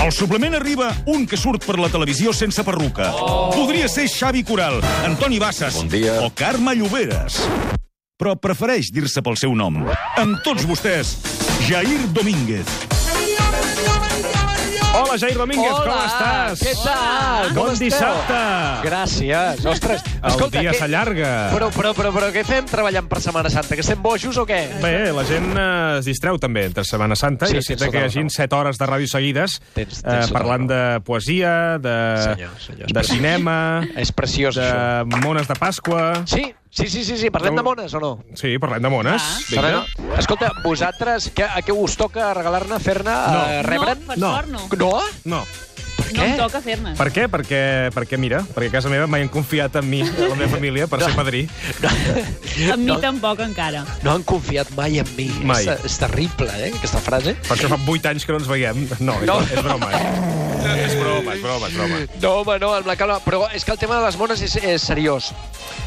Al suplement arriba un que surt per la televisió sense perruca. Oh. Podria ser Xavi Coral, Antoni Bassas Bon dia. o Carme Lloberes. Però prefereix dir-se pel seu nom. Amb tots vostès, Jair Domínguez. Hola, Jair Domínguez, com Hola, estàs? què tal? Bon Com esteu? dissabte! Gràcies. Ostres, El escolta, dia què- s'allarga. Però, però, però, però què fem treballant per Setmana Santa? Que estem bojos o què? Bé, la gent eh, es distreu també entre Setmana Santa Sí, i tens necessita tota que hi la hagin raó. 7 hores de ràdio seguides Tens- tens eh, tota parlant de poesia, de, Senyor, senyor, és de preciós. cinema, És preciós, de això. mones de Pasqua... Sí, sí, sí, sí, sí. parlem No. de mones o no? Sí, parlem de mones. Vinga. Ah. Serà, no? Escolta, vosaltres, què, a què us toca regalar-ne, fer-ne, eh, rebre'n? No, per No. sort no. No? No. Per No què? em toca fer-ne. Per què? Perquè, perquè, mira, perquè a casa meva mai han confiat en mi, a la meva família, per ser padrí. Amb mi No. tampoc encara. No han confiat mai en mi. Mai. És, és terrible, eh, aquesta frase. Per això fa 8 anys que no ens veiem. No, és, No. és broma. eh? És broma, és broma, és broma. No, home, no, amb la calma. Però és que el tema de les mones és, és seriós.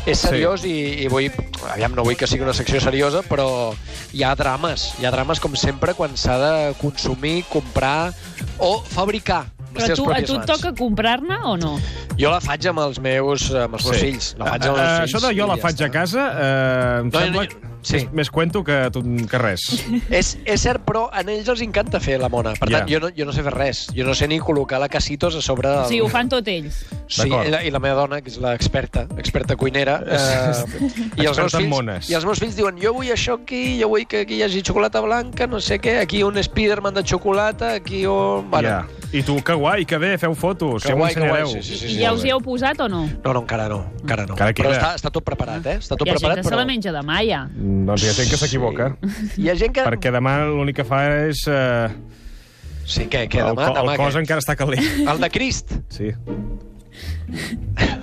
És seriós sí. i, i vull... Aviam, no vull que sigui una secció seriosa, però hi ha drames. Hi ha drames, com sempre, quan s'ha de consumir, comprar o fabricar. amb les Però a teves tu, a pròpies tu et mans. toca comprar-ne o no? Jo la faig amb els meus, amb els meus fills. La faig amb Eh, els meus eh, fills. Això de jo i la ja faig està. a casa, eh, em No, sembla jo- no, sí. sí. més cuento que, tu- que res. És, és cert, però a ells els encanta fer la mona. Per tant, Ja. jo, no, jo no sé fer res. Jo no sé ni col·locar la casitos a sobre... O Del... sigui, ho fan tot ells. Sí, D'acord. i la, i la meva dona, que és l'experta, experta cuinera, eh, i, els Experta meus en fills, mones. i els meus fills diuen jo vull això aquí, jo vull que aquí hi hagi xocolata blanca, no sé què, aquí un Spiderman de xocolata, aquí un... Bueno, Ja. I tu, que guai, que bé, feu fotos, Que ja m'ho guai, que guai, ensenyareu. sí, sí, sí, I sí, ja molt us bé. hi heu posat o no? No, no, encara no, encara no. Encara però queda. està, està tot preparat, eh? Està tot Hi ha gent preparat, que se però... la menja demà, ja. Mm, Doncs hi ha gent que s'equivoca. Hi ha gent que... Perquè demà l'únic que fa és... Eh, Sí, què, què, el, demà? co- el demà cos què? encara està calent. El de Crist. Sí.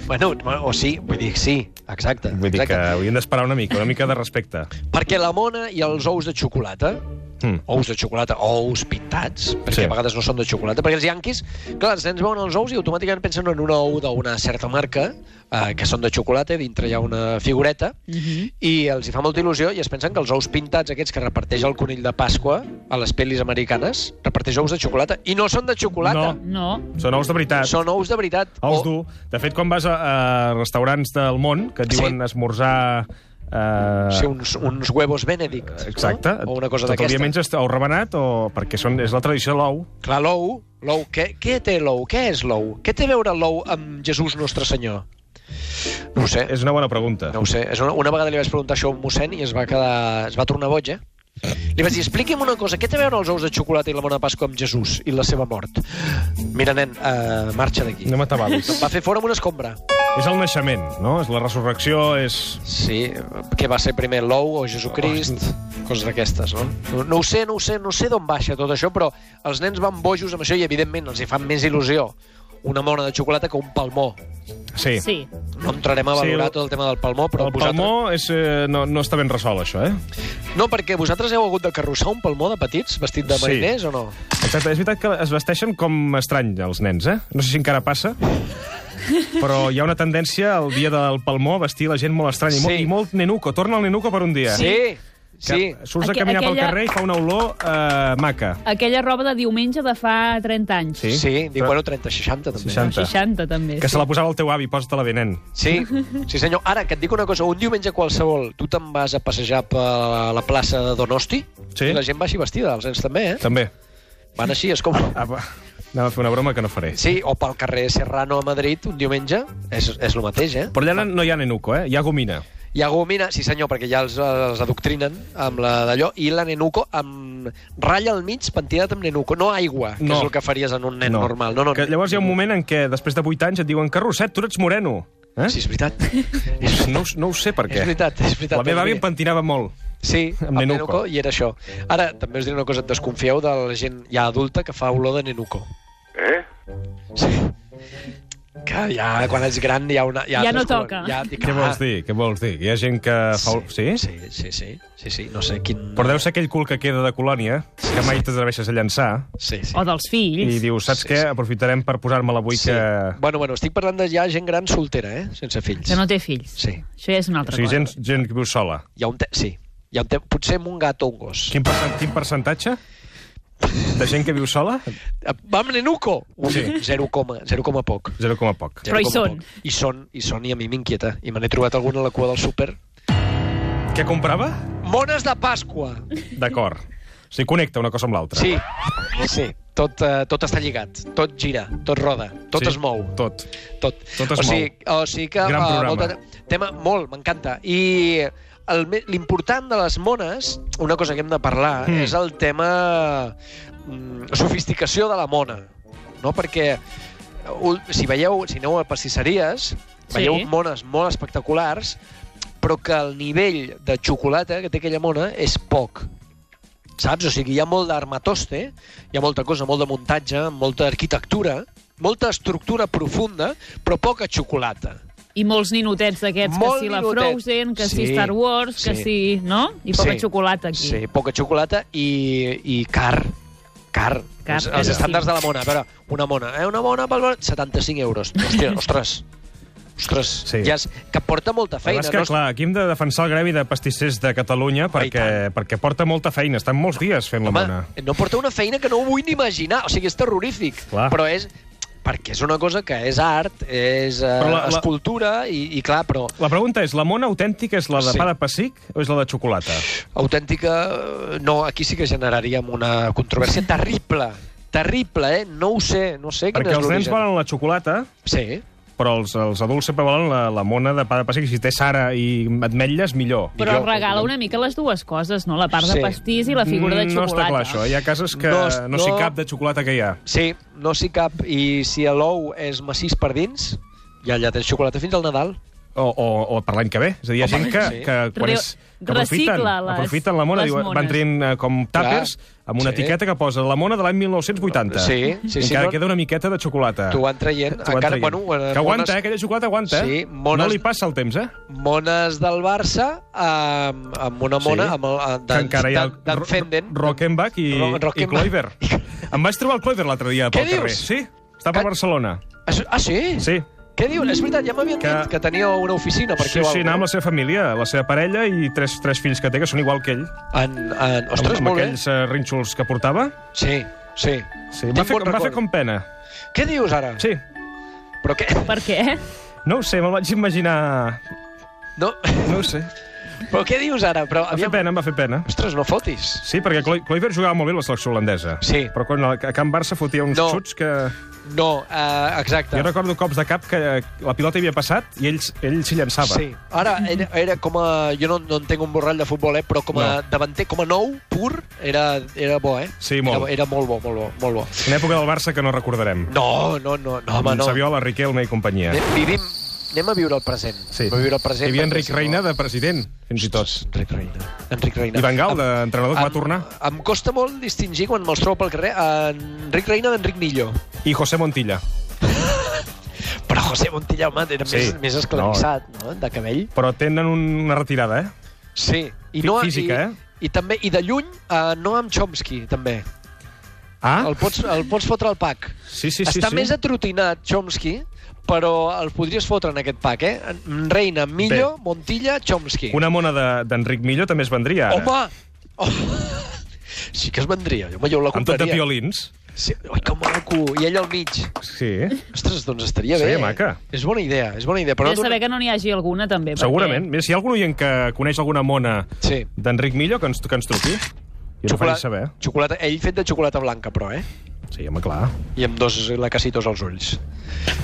Bueno, o sí, vull dir, sí, exacte. Vull dir que exacte. hauríem d'esperar una mica, una mica de respecte. Perquè la mona i els ous de xocolata, Mm. ous de xocolata, ous pintats, perquè Sí. sí. a vegades no són de xocolata, perquè els yanquis, clar, els nens veuen els ous i automàticament pensen en un ou d'una certa marca, eh, que són de xocolata, i dintre hi ha una figureta, i els hi fa molta il·lusió i es pensen que els ous pintats aquests que reparteix el conill de Pasqua a les pel·lis americanes, reparteix ous de xocolata, i no són de xocolata, No. No. Són ous de veritat. són ous de veritat. Ous O- dur. De fet, quan vas a, a restaurants del món, que et Sí. diuen esmorzar... Eh, Sí, uns, uns huevos benedict. Exacte. No? O una cosa Tot el dia d'aquestes. menges ou rebenat o... Perquè són, és la tradició de l'ou. Clar, l'ou, l'ou, què, què té l'ou? Què és l'ou? Què té a veure l'ou amb Jesús Nostre Senyor? No ho sé, És una bona pregunta. no ho sé. És una, una vegada li vaig preguntar això a un mossèn i es va, quedar, es va tornar boig, eh? Li vaig dir, expliqui'm una cosa, què té a veure els ous de xocolata i la bona Pasqua amb Jesús i la seva mort? Mira, nen, uh, marxa d'aquí. No m'atabalis. Va fer fora amb una escombra. és el naixement, no? És la resurrecció, és... Sí, què va ser primer, l'ou o Oh, Jesucrist? Coses d'aquestes, no? no? No ho sé, no ho sé, no sé d'on baixa tot això, però els nens van bojos amb això i, evidentment, els hi fan més il·lusió una mona de xocolata que un palmó. Sí. Sí. No entrarem a Sí, valorar el- tot el tema del palmó, però el palmó és, eh, no, no està ben resolt, això, eh? No, perquè vosaltres heu hagut de carrossar un palmó de petits, vestit de Sí. mariners o no? Exacte, és veritat que es vesteixen com estrany, els nens, eh? No sé si encara passa, però hi ha una tendència al dia del palmó a vestir la gent molt estranya. I, molt, Sí. I molt nenuco, torna el nenuco per un dia. Sí, Que sí. Surts a Aque- caminar pel aquella- carrer i fa una olor eh, maca. Aquella roba de diumenge de fa 30 anys. Sí. Sí, diu, Però- bueno, 30, 60 també. 60. 60, també. Que se la posava el teu avi, posa-te-la bé, nen. Sí, sí senyor. Ara, que et dic una cosa, un diumenge qualsevol, tu te'n vas a passejar per la plaça de Donosti Sí. i la gent va així vestida, els nens també, eh? També. Van així, és com... Apa. Ah, Anava a fer una broma que no faré. Sí, o pel carrer Serrano a Madrid, un diumenge, és, és el mateix, eh? Però allà no hi ha nenuco, eh? Hi ha gomina. Hi ha gomina, sí senyor, perquè ja els, els adoctrinen amb la d'allò, i la nenuco amb ratlla al mig pentinat amb nenuco, no aigua, que No. és el que faries en un nen normal. No, no, que llavors hi ha un moment en què, després de 8 anys, et diuen que Roset, tu ets moreno. Eh? Sí, és veritat. és, No, ho- no ho sé per és què. veritat, és veritat. La meva àvia és em veritat. pentinava molt. Sí, amb amb, nenuco. nenuco. i era això. Ara, també us diré una cosa, et desconfieu de la gent ja adulta que fa olor de nenuco. Eh? Sí. Que ja, quan ets gran, hi ha una... Hi ha Ja no altres colors. toca. Ja, i Què clar, vols dir? Què vols dir? Hi ha gent que fa... Sí? Sí, sí, sí, sí, sí, no sé quin... Però deu ser aquell cul que queda de colònia, que mai t'atreveixes a llançar, Sí, sí. O dels fills. i dius, saps què? Aprofitarem per posar-me-la avui sí. que... Bueno, bueno, estic parlant de ja gent gran soltera, eh? Sense fills. Que no té fills. Sí. Això ja és O una altra sigui, cosa. gent, gent que viu sola. Hi ha un te... Sí. Hi ha un te... Potser amb un gat o un gos. Quin, percent... Quin percentatge? De gent que viu sola? Eh, Vam nenuco! Sí. 0, 0, poc. Zero com a poc. Però hi 0, són. Poc. I són, i són, i a mi m'inquieta. I me n'he trobat alguna a la cua del súper. Què comprava? Mones de Pasqua! D'acord. O sigui, connecta una cosa amb l'altra. Sí, sí. Tot, eh, tot està lligat, tot gira, tot roda, tot Sí, es mou. Tot. Tot. Tot es o sigui, mou. O sigui que... Gran va, programa. Molta, tema molt, m'encanta. I el me- l'important de les mones, una cosa que hem de parlar, Mm. mm. és el tema mm, sofisticació de la mona. No? Perquè ul- si veieu, si aneu a pastisseries, Sí. veieu mones molt espectaculars, però que el nivell de xocolata que té aquella mona és poc. Saps? O sigui, hi ha molt d'armatoste, hi ha molta cosa, molt de muntatge, molta arquitectura, molta estructura profunda, però poca xocolata. I molts ninotets d'aquests, que Molt si la ninotet. Frozen, que si Sí, Star Wars, que sí. si... No? I poca Sí. xocolata aquí. Sí, poca xocolata i, i car. Car. Car, els, els caríssim. estàndards de la mona. A veure, una mona. Eh? Una mona pel... valor- 75 euros. Hòstia, ostres. Ostres, Sí. sí. ja és, que porta molta Feina, feina. és que, no? clar, aquí hem de defensar el gremi de pastissers de Catalunya perquè, perquè porta molta feina. Estan molts dies fent la Home, mona. no porta una feina que no ho vull ni imaginar. O sigui, és terrorífic. Clar. Però és perquè és una cosa que és art, és eh, Però la- la, la- escultura, i, i clar, però La pregunta és, la mona autèntica és la de Sí. pa de pessic o és la de xocolata? autèntica... eh, No, aquí sí que generaríem una controvèrsia terrible. Terrible, eh? No ho sé, no sé quin Perquè és els nens l'origen. volen la xocolata, Sí, però els, els adults sempre volen la, la mona de pa de pessic. Si té Sara i ametlles, millor. Però Millor, regala òbviament. una mica les dues coses, no? La part Sí. de pastís i la figura de Mm, No xocolata. està clar, això. Hi ha cases que no, No es- no s'hi no. cap de xocolata que hi ha. Sí, no s'hi cap. I si l'ou és massís per dins, ja ja tens xocolata fins al Nadal. O, o, o per l'any que ve. És a dir, hi ha gent que, sí. que quan Re- és, que aprofiten, recicla les- aprofiten la mona, les diuen, van mones. traient eh, com tàpers amb una Sí. etiqueta que posa la mona de l'any 1980. Sí, sí, sí, Encara no- queda una miqueta de xocolata. T'ho van traient. Ah. T'ho van Encara, traient. bueno, eh, que aguanta, eh? mones, Aquella xocolata aguanta, eh? Sí, mones- No li passa el temps, eh? mones del Barça amb, amb una Sí. mona, sí. amb el, eh, que d'en- encara hi ha d'en- d'en Ro- Fenden. Rockenbach i, Ro- i Rockenbach. Kloiber. Em vaig trobar el Kloiber l'altre dia Què pel carrer. dius? Sí, està per Que- Barcelona. Això- Ah, sí? Sí. Què diuen? És veritat, ja m'havien Que- que... dit que tenia una oficina per Sí, aquí o sí, anava amb alguna la seva família, la seva parella i tres, tres fills que té, que són igual que ell. En, en... amb, Ostres, amb molt bé. aquells eh, rínxols que portava. Sí, sí. Sí, Tinc va fer, bon va record. fer com pena. Què dius ara? Sí. Però què? Per què? No ho sé, me'l vaig imaginar... No. No ho sé. Però què dius ara? Però, Va fer pena, em va fer pena. Ostres, no fotis. Sí, perquè Clo- Kloiber jugava molt bé a la selecció holandesa. Sí. Però quan a Can Barça fotia uns No. xuts que... No, eh, exacte. Jo recordo cops de cap que la pilota hi havia passat i ell, ell s'hi llançava. Sí. Ara, era, era com a... Jo no, no entenc un borrall de futbol, eh, però com No. a davanter, com a nou, pur, era, era bo, eh? Sí, molt. Era, era molt bo, molt bo, molt bo. Una època del Barça que no recordarem. No, no, no, no home, Amb no. Saviola, Riquelme i companyia. Anem, vivim... Anem a viure el present. Anem A viure el present Hi havia perquè Enric si no- Reina de president, fins i tot. Enric Reina. Enric Reina. I Van Gaal, Em- d'entrenador, que va em- tornar. Em costa molt distingir quan me'ls trobo pel carrer a Enric Reina d'Enric Millo. I José Montilla. Però José Montilla, home, era Sí. més, més esclavissat, no. no? De cabell. Però tenen un- una retirada, eh? Sí. I Fí- no, física, i, eh? I també, i de lluny, uh, Noam Chomsky, també. Ah? El pots, el pots fotre al pack. Sí, sí, sí. Està sí. més atrotinat Chomsky, però el podries fotre en aquest pack, eh? En Reina, Millo, Bé. Montilla, Chomsky. Una mona de- d'Enric de, Millo també es vendria, ara. Home! Oh. Sí que es vendria, jo, home, jo la Amb tot de compraria. piolins. Sí, oi, que maco! I ell al mig. Sí. Ostres, doncs estaria Seria bé. maca. És bona idea, és bona idea. Però Però no de saber que no n'hi hagi alguna, també. perquè- Segurament. Mira, si hi ha algun oient que coneix alguna mona Sí. d'Enric Millo, que ens, que ens truqui. I ens ho faci saber. Xocolata... Ell fet de xocolata blanca, però, eh? Sí, home, clar. i amb dos lacacitos als ulls.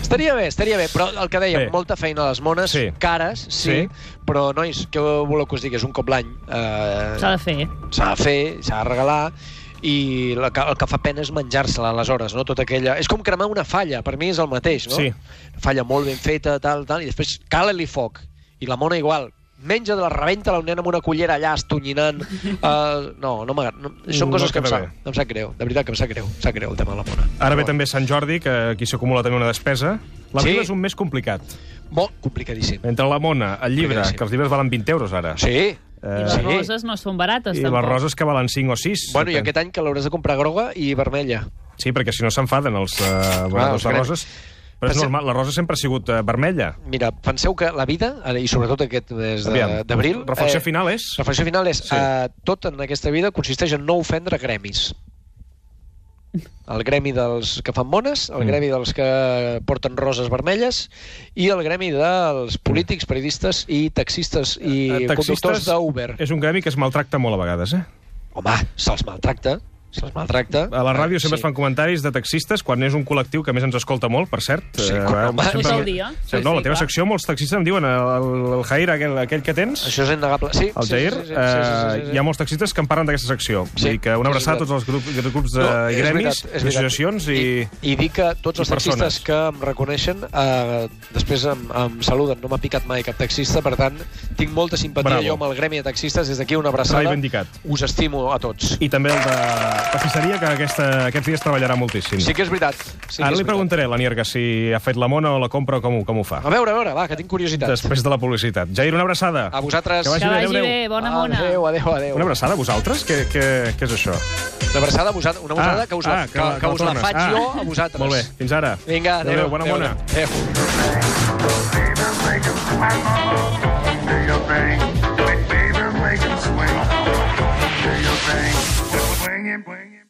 Estaria bé, estaria bé, però el que dèiem, Bé. bé. molta feina a les mones, Sí. sí. cares, sí, Sí. sí, però, nois, què voleu que us digués? Un cop l'any eh, S'ha de fer. s'ha de fer, s'ha de regalar, i la, que- el que fa pena és menjar-se-la aleshores, no? Tot aquella... És com cremar una falla, per mi és el mateix, no? Sí. Falla molt ben feta, tal, tal, i després cala-li foc. I la mona igual. Menja de la rebenta la un nen amb una cullera allà estonyinan. Uh, no, no m'agrada. No, són Mm, No coses que em queda sap, bé. em sap greu. De veritat que em sap greu. Em sap greu el tema de la mona. Ara ve Però- també Sant Jordi, que aquí s'acumula també una despesa. L'abril Sí. és un mes complicat. Molt complicadíssim. Entre la mona, el llibre, Complicadíssim. que els llibres valen 20 euros ara. Sí. I Eh, les Sí. roses no són barates, I tampoc. les roses que valen 5 o 6. Bueno, i aquest any que l'hauràs de comprar groga i vermella. Sí, perquè si no s'enfaden els eh, venedors Ah, els de gremis. roses. Però és Pensem- normal, la rosa sempre ha sigut eh, vermella. Mira, penseu que la vida, ara, i sobretot aquest mes de- Aviam, d'abril... eh, reflexió final és? Reflexió final és, Sí. sí. eh, tot en aquesta vida consisteix en no ofendre gremis. el gremi dels que fan mones, el gremi dels que porten roses vermelles i el gremi dels polítics, periodistes i taxistes i Eh, conductors d'Uber. és un gremi que es maltracta molt a vegades, eh? Home, se'ls maltracta, se'ls maltracta. A la ràdio sempre Ah, Sí. es fan comentaris de taxistes, quan és un col·lectiu que a més ens escolta molt, per cert. Sí, Eh, com no, sempre- Tot el dia. Sí, no, la Sí, teva sí, clar. secció, molts taxistes em diuen el, el Jair, aquell, aquell que tens, Això és innegable. Sí, el sí, sí, Jair, sí, sí, sí, eh, sí, sí, sí. hi ha molts taxistes que en parlen d'aquesta secció. Sí, Vull dir que una és abraçada a veritat. tots els grups, els grups de és gremis, veritat, és veritat. associacions i... I, I dir que tots els i persones. taxistes que em reconeixen eh, després em, em saluden. No m'ha picat mai cap taxista, per tant, tinc molta simpatia Bravo. jo amb el gremi de taxistes. Des d'aquí una abraçada. Reivindicat. Us estimo a tots. I també el de pastisseria, que aquesta, aquests dies treballarà moltíssim. Sí que és veritat. Sí que Ara és li veritat. preguntaré a la Nierga si ha fet la mona o la compra o com, ho- com ho fa. A veure, a veure, va, que tinc curiositat. Després de la publicitat. Jair, una abraçada. A vosaltres... Que vagi Que bé, vagi adéu, bé, adéu. bona mona. Adéu, adéu, adéu. Una abraçada a vosaltres? Què, què, què és això? Una abraçada a vosaltres. Una Ah, abraçada que us, la, que, que, us la tornes. Ah, faig jo a vosaltres. Molt bé, fins ara. Vinga, adéu. adéu bona adéu, mona. Adéu. Do your thing. Do your thing. Do your thing. Do your thing.